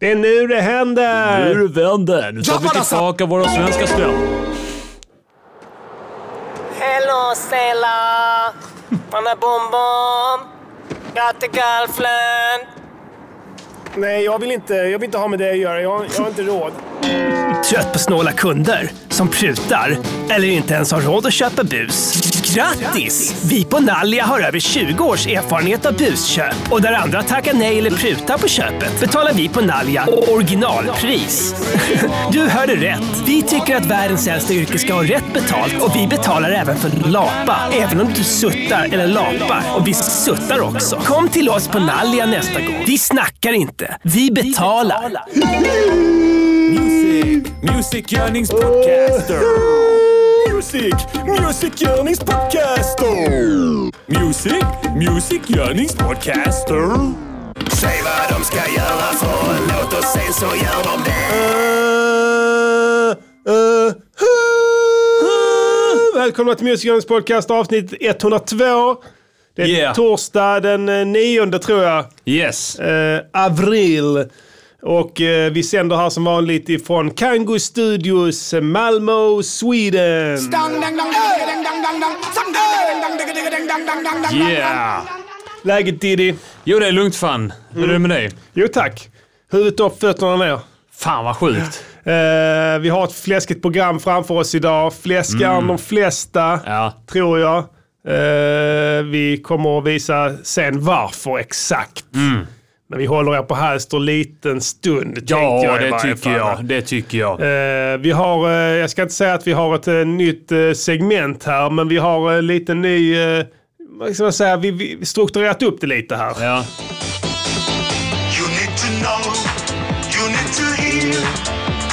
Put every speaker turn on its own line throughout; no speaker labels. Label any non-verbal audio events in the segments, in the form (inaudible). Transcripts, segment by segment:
Det är nu det händer!
Nu vänder! Nu tar vi tillbaka våra svenska spel.
Hello Stella! Anna Bom Bom! Gattegirlfriend!
Nej, jag vill, inte, jag vill inte ha med det att göra. Jag, jag har inte råd.
Trött på snåla kunder som prutar eller inte ens har råd att köpa bus. Grattis! Vi på Nallia har över 20 års erfarenhet av busköp och där andra tackar nej eller prutar på köpet betalar vi på Nallia originalpris. (laughs) Du hörde rätt. Vi tycker att världens äldsta yrke ska ha rätt betalt och vi betalar även för lapa, även om du suttar eller lapar. Och vi suttar också. Kom till oss på Nallia nästa gång. Vi snackar inte, vi betalar.
Music! Music Yearnings Podcaster! Music! Music Yearnings Podcaster! Music! Music Yearnings Podcaster!
Säg vad de ska göra för en låt och sen så gör de det.
Välkomna till Music Journeys podcast avsnitt 102. Det är
Yeah.
torsdag den eh, 9 tror jag,
Yes!
eh, avril. Och eh, vi sänder här som vanligt ifrån Kango Studios, eh, Malmö, Sweden.
Yeah!
Läget Diddy?
Jo, det är lugnt fan. Hur är det med dig?
Jo tack. Huvudet upp, fötterna ner.
Fan vad sjukt.
Eh, vi har ett fläskigt program framför oss idag. Fläskar de flesta,
Mm. Ja.
tror jag. Eh, vi kommer att visa sen varför exakt. Men vi håller er på halster en liten stund, tänkte
Mm. Ja,
jag i
det
varje
tycker
fall.
jag. Det tycker jag.
Eh, vi har, eh, jag ska inte säga att vi har ett eh, nytt eh, segment här, men vi har eh, lite ny, eh, vad ska man säga, vi, vi strukturerat upp det lite här.
Ja.
You need to know, you need to hear.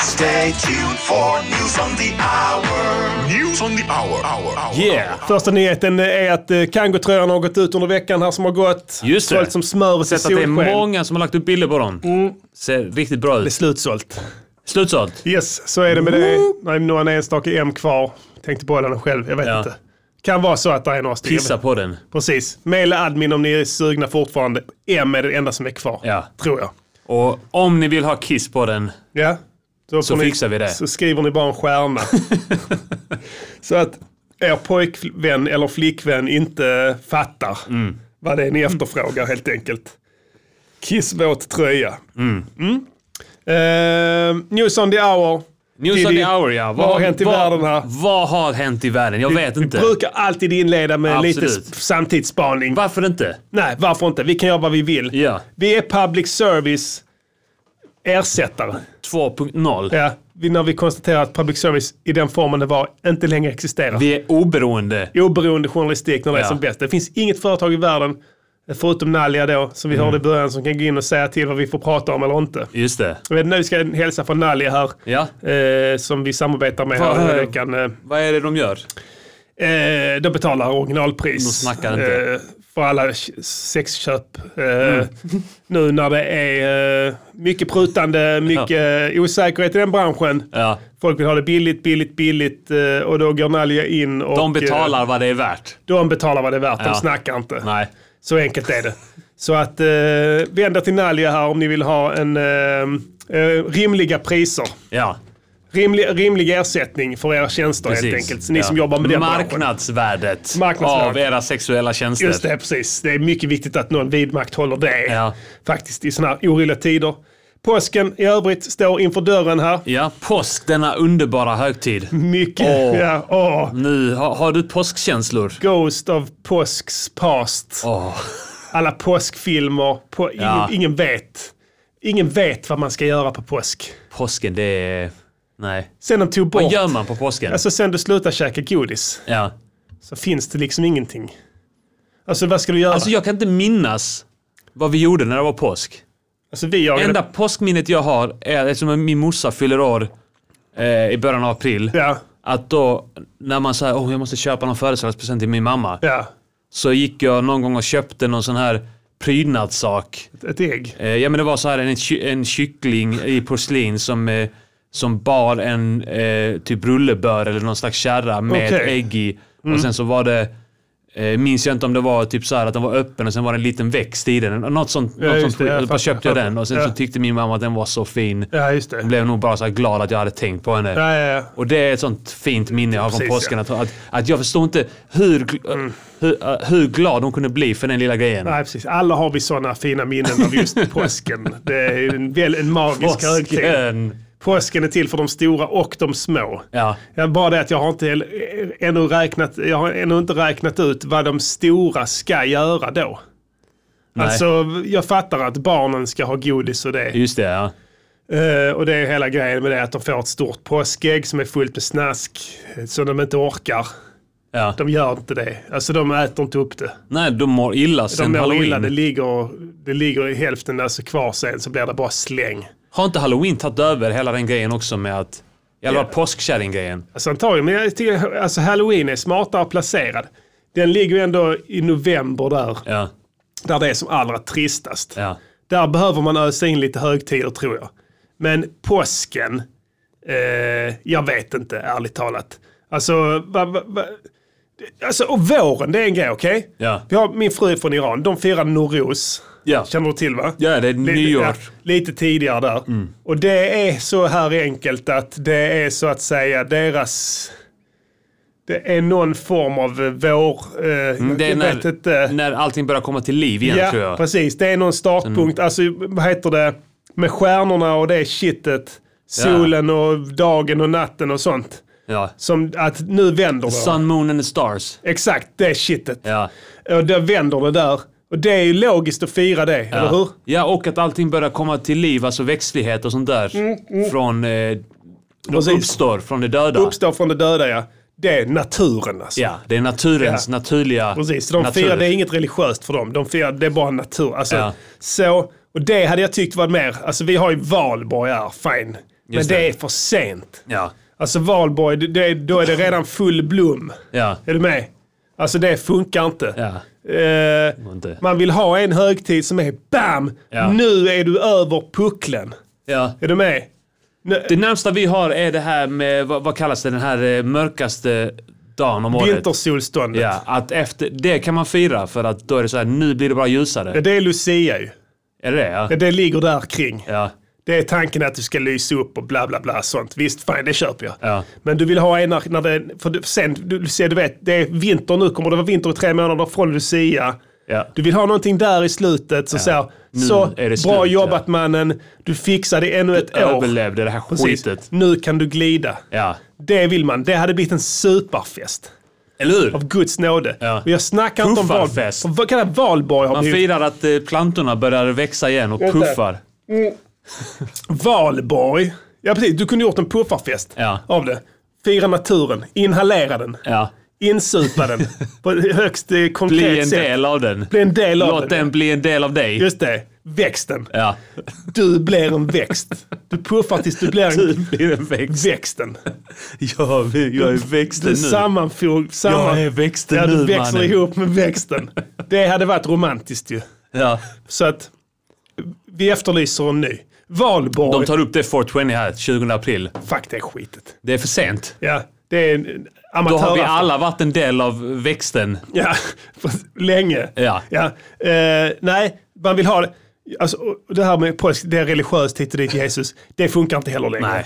Stay tuned for news on the hour. News on the hour. hour, hour
Yeah!
Första nyheten är att eh, Kangotröjan har gått ut under veckan här som har gått.
Just det.
Sålt som smör i
sett att det är
solsken.
många som har lagt upp bilder på dem.
Mm.
Ser riktigt bra
Det är
ut.
slutsålt.
Slutsålt.
Yes, så är det med det. Det är några enstaka M kvar. Tänkte behålla den själv, jag vet
Ja.
inte. Kan vara så att det är några stycken.
Pissa på den.
Precis. Maila admin om ni är sugna fortfarande. M är det enda som är kvar.
Ja.
Tror jag.
Och om ni vill ha kiss på den.
Ja. Då får
fixar vi det.
Så skriver ni bara
(laughs)
en stjärna. så att er pojkvän eller flickvän inte fattar
Mm.
vad det är ni efterfrågar helt enkelt. Kissvåt tröja. Mm. Eh, news on the hour.
News on
Diddy,
the hour ja.
Vad har hänt i
vad,
världen här?
Vad har hänt i världen? Jag vet
Vi
inte.
brukar alltid inleda med lite
Absolut.
sp- samtidsspaning.
Varför inte?
Nej, varför inte? Vi kan göra vad vi vill.
Ja.
Vi är public service ersättare.
2.0.
Ja, vi- när vi konstaterar att public service i den formen det var inte längre existerar.
Vi är oberoende.
Oberoende journalistik när det är
Ja.
som bäst. Det finns inget företag i världen, förutom Nalja då, som vi
Mm.
hörde i början, som kan gå in och säga till vad vi får prata om eller inte.
Just det.
Jag vet inte, vi ska hälsa från Nalja här,
Ja.
eh, som vi samarbetar med
Vad-
här den här veckan. Eh,
Vad är det de gör?
Eh, de betalar originalpris.
De snackar inte. Mm.
Eh, för alla k- sexköp. Eh, (laughs) Nu när det är eh, mycket prutande, mycket eh, osäkerhet i den branschen.
Ja.
Folk vill ha det billigt, billigt, billigt eh, och då går Nalja in och...
De
Eh,
betalar vad det är värt.
de betalar vad det är värt,
Ja.
de snackar inte.
Nej.
Så enkelt är det. Så att eh, vänd er till Nalja här om ni vill ha en eh, eh, rimliga priser.
Ja.
Rimlig, rimlig ersättning för era tjänster helt enkelt. Så ni
Ja.
som jobbar med den branschen.
Marknadsvärdet
Marknadsvärdet.
av era sexuella tjänster.
Just det, precis. Det är mycket viktigt att någon vidmakthåller det
Ja.
faktiskt i sådana här oroliga tider. Påsken i övrigt står inför dörren här.
Ja, påsk, denna underbara högtid.
Mycket.
Åh.
Ja, åh.
Nu, har, har du påskkänslor?
Ghost of påsks past.
Åh.
Alla påskfilmer. På, ingen,
Ja.
ingen vet. Ingen vet vad man ska göra på påsk.
Påsken, det är... Nej.
Sen de tog
Vad
bort...
gör man på påsken?
Alltså sen du slutar käka godis
Ja.
så finns det liksom ingenting. Alltså vad ska du göra?
Alltså jag kan inte minnas vad vi gjorde när det var påsk.
Alltså, vi jagade...
Enda påskminnet jag har är eftersom min morsa fyller år eh, i början av april.
Ja.
Att då, när man säger åh jag måste köpa någon födelsedagspresent till min mamma.
Ja.
Så gick jag någon gång och köpte någon sån här prydnadssak.
Ett- Ett ägg.
Eh, ja men det var så här en, ky- en kyckling i porslin som, eh, som bar en eh, typ rullebör eller någon slags kärra med
Okej. Mm.
ett ägg i. Och sen så var det Eh, minns jag inte om det var typ så här att den var öppen och sen var det en liten växt i den. Något sånt.
Ja,
något sånt
just det, jag
skit. och bara
fattar,
köpte jag
fattar.
den och sen
Ja.
så tyckte min mamma att den var så fin.
Ja, just det.
Hon blev nog bara så här glad att jag hade tänkt på henne.
Ja, ja, ja.
Och det är ett sånt fint minne jag har från
Precis, Mm.
påsken. Att, att, att jag förstår inte hur, gl- hur, eh, hur glad hon kunde bli för den lilla grejen.
Nej, precis. Alla har vi sådana fina minnen
(laughs)
av just påsken. Det är en, väl, en magisk högtid.
Påsken!
Påsken är till för de stora och de små.
Ja.
Ja, bara det att jag har, inte, hel- eh, ännu räknat, jag har ännu inte räknat ut vad de stora ska göra då.
Nej.
Alltså, jag fattar att barnen ska ha godis och det.
Just det, ja.
Eh, och det är hela grejen med det att de får ett stort påskägg som är fullt med snask eh, som de inte orkar.
ja.
De gör inte det. Alltså de äter inte upp det.
Nej, de mår illa
De
sen
mår
halloween.
illa, det ligger, det ligger i hälften alltså kvar sen så blir det bara släng.
Har inte halloween tagit över hela den grejen också med att... I alla fall påskkärringgrejen.
Alltså antagligen, men jag tycker, alltså halloween är smartare placerad. Den ligger ju ändå i november där,
Ja,
där det är som allra tristast.
ja.
Där behöver man ösa in lite högtider tror jag. Men påsken, eh, jag vet inte ärligt talat. Alltså, va, va, va, alltså och våren det är en grej, okej?
Ja.
Vi har min fru är från Iran, de firar Noruz.
Ja.
Känner du till va?
Ja, det är
Lite-
nyår. Mm.
ja, lite tidigare där. Och det är så här enkelt att det är så att säga deras... Det är någon form av eh, vår... Eh,
Mm, Det är
jag vet inte.
när, när allting börjar komma till liv igen
Ja,
tror jag. Mm.
precis. Det är någon startpunkt. Alltså, vad heter det? Med stjärnorna och det shitet. Solen och dagen och natten och sånt.
Ja.
Som att nu vänder det.
Sun, moon and the stars.
Exakt, det shitet.
Ja.
Och då vänder det där. Och det är ju logiskt att fira det, eller hur?
ja, och att allting börjar komma till liv, alltså växtlighet och sånt där. Från... Eh,
Mm, Precis.
uppstår från det döda.
Uppstår från det döda, ja. Det är naturen alltså.
Ja, det är naturens
Ja.
naturliga
Precis, så de
natur.
firar, det är inget religiöst för dem. De firar, det är bara natur. Alltså,
Ja.
så, och det hade jag tyckt var mer, alltså vi har ju valborg här, fine. Men
Just
det.
det.
är för sent.
Ja,
Alltså valborg, det- det, är- då är det redan full blom.
ja,
Är du med? Alltså det funkar inte.
ja.
Eh,
inte.
man vill ha en högtid som är BAM!
Ja.
Nu är du över pucklen.
ja.
Är du med?
Det närmsta vi har är det här med, vad, vad kallas det, den här eh, mörkaste dagen om året.
Vintersolståndet.
Ja, att efter, det kan man fira för att då är det så här, nu blir det bara ljusare.
Det är Lucia ju.
Är det det? Ja.
Det- Det ligger där kring.
ja.
Det är tanken att du ska lysa upp och bla bla bla sånt. Visst, fan det köper jag.
Ja.
Men du vill ha en när när det, för du, sen, du, ser, du vet, det är vinter nu, kommer det vara vinter i tre månader från Lucia.
Ja.
Du vill ha någonting där i slutet, så så, här,
Nu
så
är det
bra
slut,
jobbat mannen, du fixade ännu ett år.
Överlevde det här
Precis.
skitet.
Nu kan du glida.
Ja.
Det vill man. Det hade blivit en superfest.
Eller hur?
Av Guds nåde.
Ja.
Och jag snackar inte om valborg.
Puffarfest.
För Vad kallar valborg har
Man
blivit?
firar att eh, plantorna börjar växa igen och puffar.
Valborg. Ja precis, du kunde gjort en puffarfest
Ja.
av det. Fira naturen, inhalera den,
Ja. (laughs)
insupa den på ett högst eh, konkret
Bli en
sätt.
del av den.
Bli en del av
Låt den bli en del av dig.
Just det, växten.
Ja.
Du blir en växt. Du puffar tills du
(laughs)
blir en...
blir en växt.
växten.
Jag, jag är växten
Du
nu.
sammanfog... Samman...
Jag är växten
ja, du
nu
växer
mannen.
ihop med växten. Det hade varit romantiskt ju.
Ja.
Så att vi efterlyser en ny. Valborg.
De tar upp det 420 här 20 april.
Fuck det skitet.
Det är för sent.
Ja, det är en en amatör.
Då har vi alla varit en del av växten.
Ja, för länge.
Ja.
Eh, nej, man vill ha det. Alltså, och det här med påsk, det är religiöst hit och dit Jesus, det funkar inte heller längre.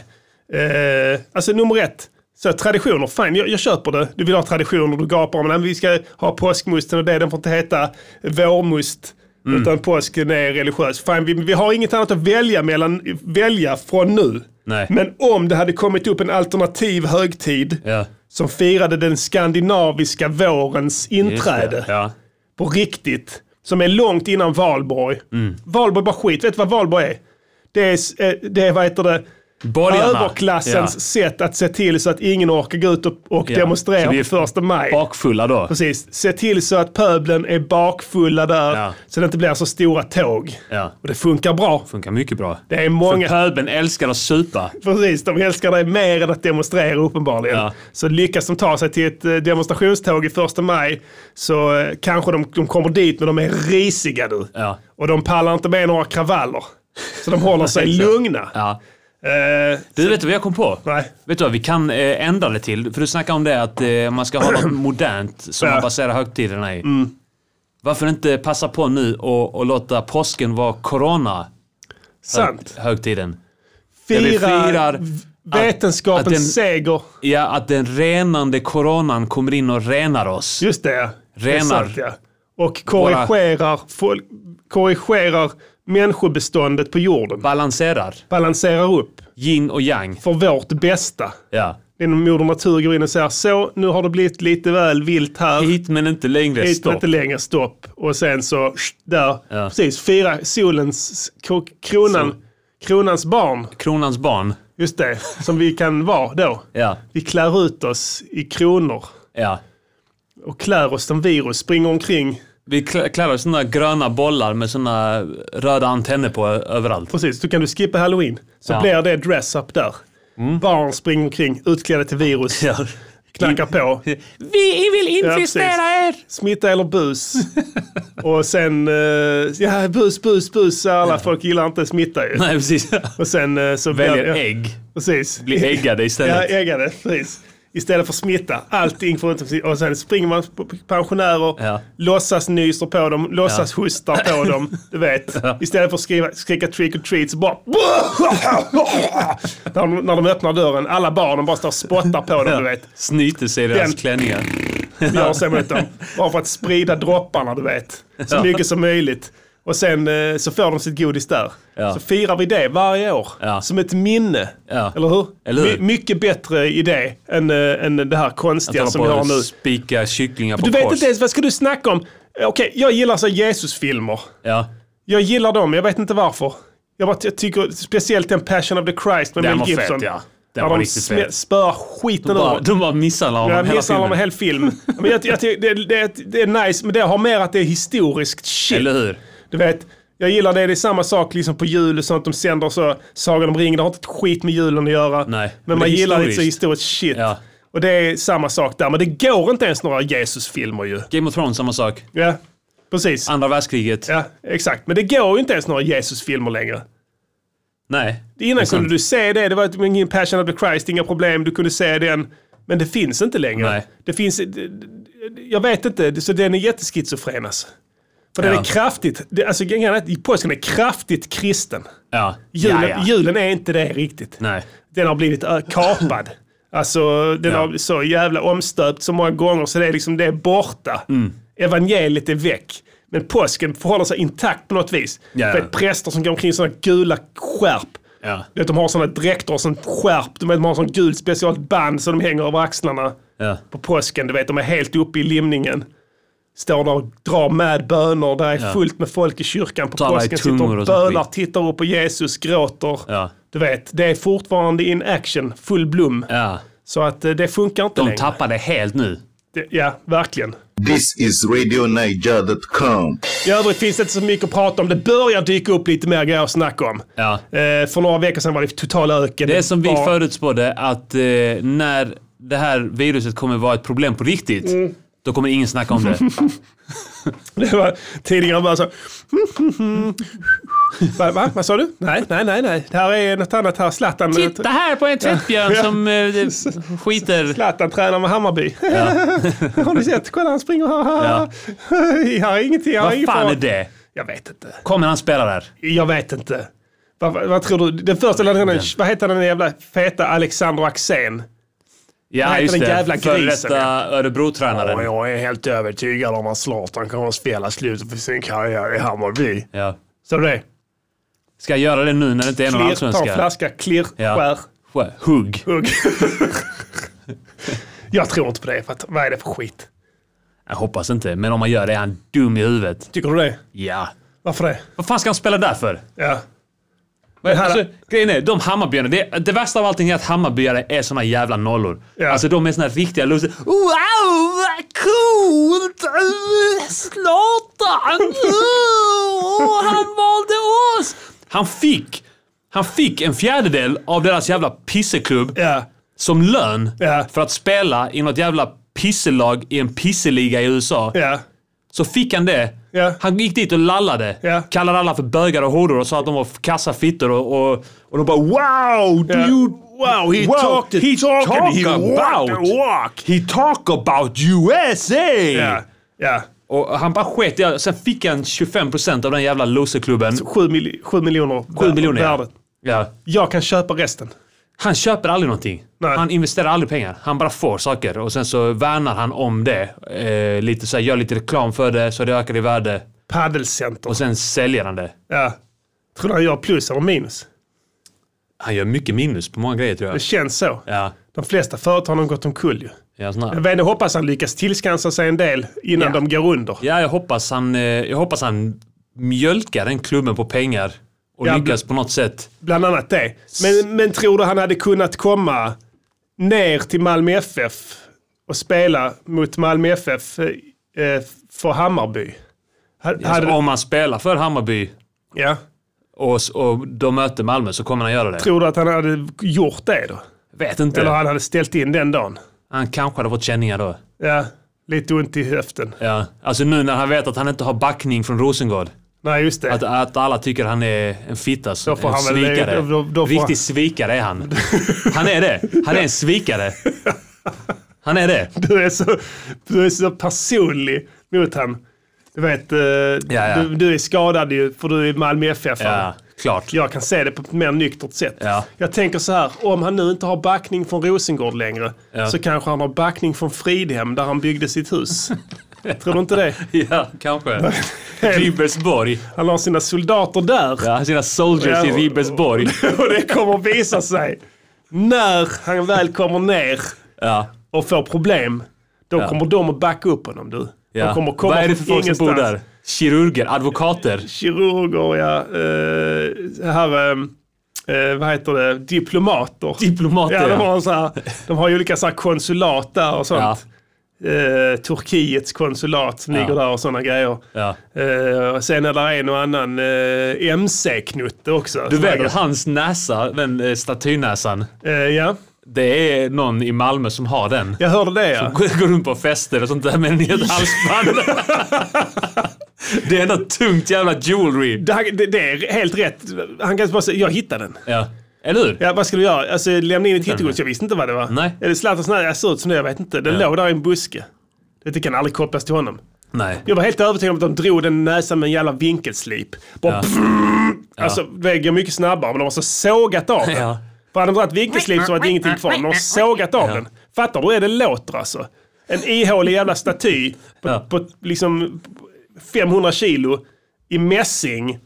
Nej. Eh, alltså nummer ett, så här, traditioner, fine, jag, jag köper det. Du vill ha traditioner, du gapar om, nej, men vi ska ha påskmusten och det, den får inte heta vårmust.
Mm.
Utan påsken är religiös. Fine, vi, vi har inget annat att välja, mellan, välja från nu.
Nej.
Men om det hade kommit upp en alternativ högtid
Ja.
som firade den skandinaviska vårens
Just det.
inträde
Ja.
på riktigt. Som är långt innan valborg.
Mm.
Valborg är bara skit. Vet du vad valborg är? Det är, s- eh, det är vad heter det,
Borgarna.
överklassens sätt att se till så att ingen orkar gå ut och, och
Ja. Så
demonstrera
vi är
på första maj.
Bakfulla då.
Precis. Se till så att pöblen är bakfulla där,
Ja.
så det inte blir så stora tåg.
Ja.
Och det funkar bra.
Funkar mycket bra.
Det är många...
För pöbeln älskar att supa.
Precis, de älskar dig mer än att demonstrera uppenbarligen.
Ja.
Så lyckas de ta sig till ett eh, demonstrationståg i första maj så eh, kanske de, de kommer dit men de är risiga du.
Ja. (laughs)
Och de pallar inte med några kravaller. Så de håller sig lugna.
Ja.
Eh,
Du, vet du vad jag kom på?
Nej.
Vet du vad, vi kan eh, ändra det till, för du snackade om det att eh, man ska ha
(clears throat)
något modernt som
Ja. Mm.
man baserar högtiderna i. Varför inte passa på nu och, och låta påsken vara corona-högtiden?
sant.
Där vi
Fira
firar att-
vetenskapens
att den-
seger.
Ja, att den renande coronan kommer in och renar oss.
Just det, ja. Det är
Renar.
sant, ja. Och korrigerar, folk, korrigerar människobeståndet på jorden.
Balanserar.
Balanserar upp
Yin och yang.
för vårt bästa.
Ja.
Det är när Moder Natur går in och säger så, nu har det blivit lite väl vilt här.
Hit men inte längre.
Hit men
Stopp.
inte längre, stopp. Och sen så, sh, där.
Ja.
Precis, fira solens, kro- kronan, kronans barn.
Kronans barn.
Just det, som vi kan vara då.
(laughs) Ja.
Vi klär ut oss i kronor
Ja.
och klär oss som virus, springer omkring.
Vi klä- klär oss i såna gröna bollar med såna röda antenner på ö- överallt.
Precis, då kan du skippa halloween. Så
Ja. Mm.
blir det dress-up där. Barn springer omkring utklädda till virus,
Ja.
knackar på.
Vi vill
infestera
er!
Smitta eller
(laughs)
bus. och sen, eh, ja bus, bus, bus. Alla folk gillar inte smitta ju.
(laughs) Nej, precis.
Och sen eh, så
Väljer
ja,
ägg.
Precis.
Blir äggade
Ja,
istället.
äggade. Precis. Istället för smitta. Allting förutom Och sen springer man på pensionärer,
Ja.
låtsas nyser på dem, låtsas hostar på
(laughs)
dem. Du vet. Istället för att skriva, skrika trick or treat så bara... (laughs) när, de, när de öppnar dörren, alla barnen bara står och spottar på dem, du vet.
Snyter sig i deras
Den-
klänningar.
gör sig mot dem. Bara för att sprida dropparna, du vet. Så mycket som möjligt. Och sen eh, så får de sitt godis där.
Ja.
Så firar vi det varje år.
Ja.
Som ett minne.
Ja.
Eller hur?
Eller hur?
My- mycket bättre idé än, eh, än det här
Att
konstiga
hålla
som
på
vi har
och
nu.
spika kycklingar på
Du vet
kors.
inte ens, vad ska du snacka om? Eh, Okej, jag gillar så Jesus-filmer.
Ja.
Jag gillar dem, jag vet inte varför. Jag, bara, jag tycker speciellt den Passion of the Christ med
Den
Mel
var
Gibson.
fet, ja. Den
Där
var
de
riktigt
smä-
fet.
spöar skiten ur
Bara,
honom.
de bara misshandlar honom
Jag
hela
missar honom en
filmen.
hel film. Men jag, jag, tycker det, det, det är nice, men det har mer att det är historiskt shit.
Eller hur?
Du vet, jag gillar det. Det är samma sak liksom på jul och sånt. De sänder så Sagan om ringen. Det har inte ett skit med julen att göra.
Nej, men
men
det
man
är
gillar lite så
historiskt.
historiskt shit.
Ja.
Och det är samma sak där. Men det går inte ens några Jesus-filmer ju.
Game of Thrones, samma sak.
Ja, precis.
Andra världskriget.
Ja, exakt. Men det går ju inte ens några Jesus-filmer längre.
Nej.
Innan kunde
sant.
du se det. Det var ingen Passion of the Christ, inga problem. Du kunde se den. Men det finns inte längre.
Nej.
Det finns... det- det- Jag vet inte. Så den är jätteskizofren alltså. För den
Ja.
är kraftigt... det- Alltså grejen är att påsken är kraftigt kristen.
Ja.
Julen,
ja, ja.
julen är inte det riktigt.
Nej.
Den har blivit ö,
(laughs)
kapad. Alltså den
Ja.
har blivit så jävla omstöpt så många gånger så det är liksom det är borta.
Mm.
Evangeliet är väck. Men påsken förhåller sig intakt på något vis.
Ja.
För att präster som går omkring i sådana gula skärp.
Ja.
Du vet, de har sådana dräkter och sånt skärp. De vet, de har sån gult specialt band som de hänger över axlarna
Ja.
på påsken. Du vet, de är helt uppe i limningen. Står där och drar med böner. Där är
Ja.
fullt med folk i kyrkan på
Talar i
påsken. Sitter
tungor
och
och sånt
bölar,
skit.
tittar upp på Jesus, gråter.
Ja.
Du vet, det är fortfarande in action, full blom.
Ja.
Så att eh, det funkar inte
De
längre.
tappade helt nu.
Det- Ja, verkligen.
This is RadioNiger.com.
I övrigt finns det inte så mycket att prata om. Det börjar dyka upp lite mer grejer att snacka om.
Ja.
Eh, för några veckor sedan var det total öken.
Det är som vi
var...
förutspådde att eh, när det här viruset kommer vara ett problem på riktigt,
Mm.
då kommer ingen snacka om det.
(laughs) Det var, tidningarna bara så... (laughs) va, va? Vad sa du? Nej, nej, nej, nej. Det här är något annat här. Zlatan,
Titta här på en tvättbjörn som eh, skiter.
Zlatan tränar med Hammarby. (laughs) Har ni sett? Kolla, han springer.
Ja.
(laughs) Jag har ingenting. Jag har
Vad
ingen
fan
fara.
är det?
Jag vet inte.
Kommer han spela där?
Jag vet inte. Vad, vad, vad tror du? Den första läraren, vad heter den jävla feta Alexander Axén?
Ja,
heter
just
den
det.
jävla
Före
grisen,
detta
ja.
Örebro-tränaren.
jag är helt övertygad om att Zlatan kommer att spela slutet för sin karriär i Hammarby.
Ja.
Så det.
Ska jag göra det nu när det inte är någon
Klirr, ta en
allsvenska?
flaska, klirr,
Ja.
skär,
Sk- Hugg.
hugg. (laughs) jag tror inte på det, för att, vad är det för skit?
Jag hoppas inte, men om man gör det är han dum i huvudet.
Tycker du det?
Ja.
Varför det?
Vad fan ska han spela där för?
Ja.
Men
här-
Alltså, grejen är, de Hammarbyarna, det, det värsta av allting är att Hammarbyare är såna jävla nollor.
Ja.
Alltså de är såna riktiga loser. Wow, vad coolt! Uh, Zlatan! Uh, åh, han valde oss! Han fick, han fick en fjärdedel av deras jävla pisseklubb
Ja.
som lön
Ja.
för att spela i något jävla pisselag i en pisseliga i USA.
Ja.
Så fick han det
Ja.
Han gick dit och lallade.
Ja.
Kallade alla för bögar och horor och sa att de var kassa fittor och, och, och de bara wow!
Ja.
Dude,
Wow, he
wow,
talked
he
talk and
talk
he
about.
walked the walk.
He talk about USA!
Ja. ja.
Och han bara sket i allt. Sen fick han 25% av den jävla loserklubben.
Sju, mil- sju miljoner.
Sju miljoner ja.
Värdet.
ja.
Jag kan köpa resten.
Han köper aldrig någonting.
Nej.
Han investerar aldrig pengar. Han bara får saker och sen så värnar han om det. Eh, lite så här, gör lite reklam för det så det ökar i värde.
Paddelcenter.
Och sen säljer han det.
Ja. Tror du han gör plus eller minus?
Han gör mycket minus på många grejer tror
Det
jag.
känns så.
Ja,
De flesta företag har gått omkull ju.
jag, är sån
Jag
här.
vet inte, hoppas han lyckas tillskansa sig en del innan
Ja.
de går under.
ja jag, hoppas han, eh, jag hoppas han mjölkar den klubben på pengar och
Ja,
lyckas på något sätt.
Bland annat det. Men, men tror du han hade kunnat komma ner till Malmö FF och spela mot Malmö FF eh, för Hammarby? Ha-
Alltså,
hade,
om han spelar för Hammarby
ja.
och, s- och de möter Malmö så kommer han göra det.
Tror du att han hade gjort det då?
Vet inte.
Eller
han...
han hade ställt in den dagen?
kanske hade fått känningar då.
Ja, lite ont i höften.
Ja. Alltså nu när han vet att han inte har backning från Rosengård.
Nej, just det.
Att, att alla tycker han är en fitta, så-
Då får
en
han väl-
svikare.
då- då- då får
Riktig
han-
svikare är
(laughs)
han. Han är det. Han är en svikare. Han är det.
Du är så, du är så personlig mot han. Du vet, eh,
ja.
Du, du är skadad ju för du är Malmö FF.
Ja, klart.
Jag kan se det på ett mer nyktert sätt.
Ja.
Jag tänker så här, om han nu inte har backning från Rosengård längre
Ja.
så kanske han har backning från Fridhem där han byggde sitt hus. Tror du
(laughs)
inte det?
Ja,
(laughs)
kanske. Ribersborg.
Han har sina soldater där.
Ja, sina soldiers i
Ja.
Ribersborg.
(laughs) Och det kommer visa sig. När han väl kommer ner
Ja.
och får problem, då kommer de att backa upp honom du. De
Ja.
kommer komma
Vad är det för
från
folk som bor där?
ingenstans.
Kirurger, advokater.
kirurger, ja. Eh, här, eh, eh, vad heter det, diplomater.
Diplomater,
ja, de,
ja.
har så här, de har ju olika så här konsulat där och
Ja.
sånt. Eh, Turkiets konsulat som ligger där och sådana grejer.
Ja.
Eh, och sen är det en och annan eh, MC-knutte också.
Du vet att hans näsa, den eh, statynäsan,
Eh, ja,
det är någon i Malmö som har den.
jag hörde det ja.
(laughs) Går går runt på fester och sånt där med en hel halsband. (laughs) det är något tungt jävla jewelry.
(laughs) Det, här- det, det är helt rätt. Han kanske bara säger, jag hittade den.
Ja. Eller hur?
Ja, vad ska du göra? Alltså, lämna in ett hittegods? Jag visste inte vad det var.
Nej.
Är det Zlatans när jag ser ut som det? Jag vet inte. Den låg där i en buske. Det kan aldrig kopplas till honom.
Nej.
Jag var helt övertygad om att de drog den i näsan med en jävla vinkelslip. Bara pfff. Alltså, det går mycket snabbare, men de har så sågat av den.
Ja.
För hade de dragit vinkelslip så var det ingenting kvar. men De har sågat av den. Fattar du hur det låter alltså? En ihålig jävla staty på,
Ja.
på liksom 500 kilo i mässing.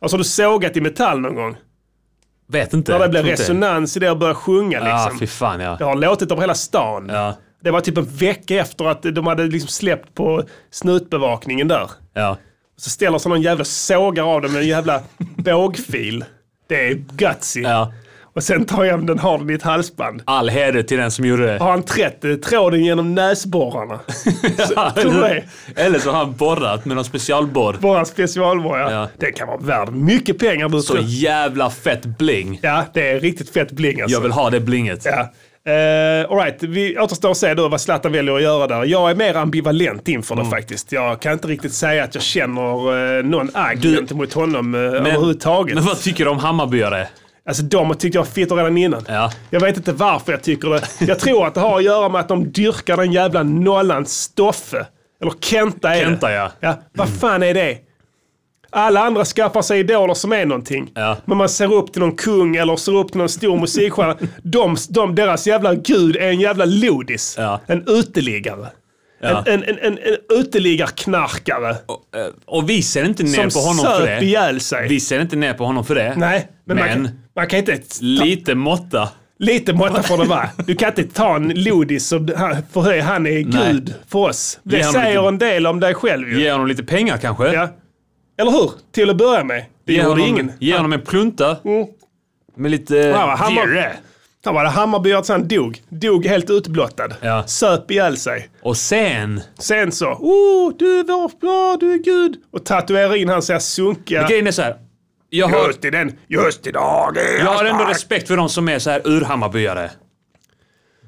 Alltså har du sågat i metall någon gång?
Vet inte.
När det blir
Tror inte.
resonans i det och börjar sjunga
Ja,
liksom.
fy fan
det
ja.
har låtit över hela stan.
Ja.
Det var typ en vecka efter att de hade liksom släppt på snutbevakningen där.
Ja.
Så ställer sig någon jävla sågar av den med
(laughs)
en jävla bågfil. Det är gutsy.
ja.
Och sen tar jag hem den, har den i ett halsband.
All heder till den som gjorde det.
Har han trätt eh, tråden
(laughs)
genom näsborrarna? tror du det?
Eller så har han borrat med någon specialborr.
Bara specialborrar.
Ja.
Det kan vara värd mycket pengar. Du
Så
tror.
jävla fett bling.
Ja, det är riktigt fett bling alltså.
Jag vill ha det blinget.
Ja. Uh, Alright, vi återstår att se då vad Zlatan väljer att göra där. Jag är mer ambivalent inför det
Mm.
faktiskt. Jag kan inte riktigt säga att jag känner eh, någon agg gentemot honom eh, överhuvudtaget.
men vad tycker du om Hammarbyare?
Alltså de har tyckt jag var fitter redan innan.
Ja.
Jag vet inte varför jag tycker det. Jag tror att det har att göra med att de dyrkar den jävla nollan Stoffe. Eller Kenta är
Kenta,
det.
ja.
ja. Vad fan är det? Alla andra skaffar sig idoler som är någonting.
Ja.
Men man ser upp till någon kung eller ser upp till någon stor musikstjärna. de, de, deras jävla gud är en jävla lodis.
Ja.
En uteliggare.
Ja.
En, en, en, en, en uteliggarknarkare.
Eh, Och vi ser inte ner
Som
på honom för
söp
det.
ihjäl sig.
Vi ser inte ner på honom för det.
Nej, men, Man,
Men-
kan, man kan inte
Lite måtta.
Lite måtta får det vara. Du kan inte ta en lodis och förhöja han är gud för oss. Det
Ge honom
säger
lite-
en del om dig själv ju.
Ge honom lite pengar kanske.
Ja. Eller hur? Till att börja med. Det
Ge
gjorde
honom,
ingen. Mm.
ge honom en plunta. Med lite...
Ja, va, Hammar-
Björre.
Där var det Hammarby att han dog. Dog helt utblottad.
Ja.
Söp ihjäl sig.
Och sen...
Sen så, oh, du är vår, ja, du är gud. Och tatuerar in hans så här sunkiga...
Grejen är så här. Jag har,
Just i den, just idag är
jag har ändå
stark.
respekt för de som är så här urhammarbyare.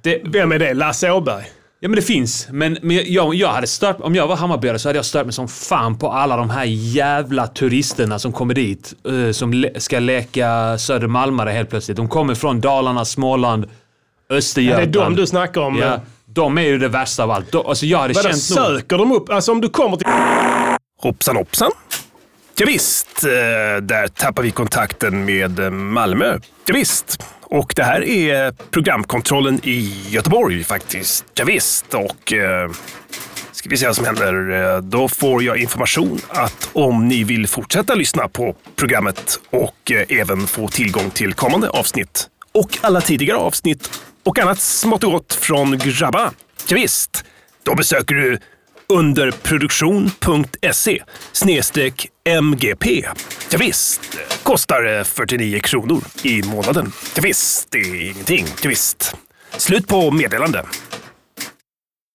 Det,
Vem är det? Lasse Åberg?
Ja men det finns. Men, men jag, jag hade stört, om jag var Hammarbyare så hade jag stört mig som fan på alla de här jävla turisterna som kommer dit. eh, som le- ska leka södermalmare helt plötsligt. De kommer från Dalarna, Småland,
Det är
Östergötland.
de du snackar om.
Ja, de är ju det värsta av allt. De, alltså jag hade
Vadå,
känt nog...
söker de upp? Alltså om du kommer till...
Hoppsan hoppsan. Ja, visst, eh,
e,
där tappar vi kontakten med eh, Malmö. Ja, visst. Och det här är programkontrollen i Göteborg faktiskt. Ja, visst. och eh, ska vi se vad som händer. Eh, Då får jag information att om ni vill fortsätta lyssna på programmet och eh, även få tillgång till kommande avsnitt och alla tidigare avsnitt och annat smått och gott från grabbarna. Ja, visst. då besöker du underproduktion.se E snedstreck MGP. Ja, visst. kostar eh, 49 kronor i månaden. Ja, visst. det är ingenting. Ja, visst. Slut på meddelande.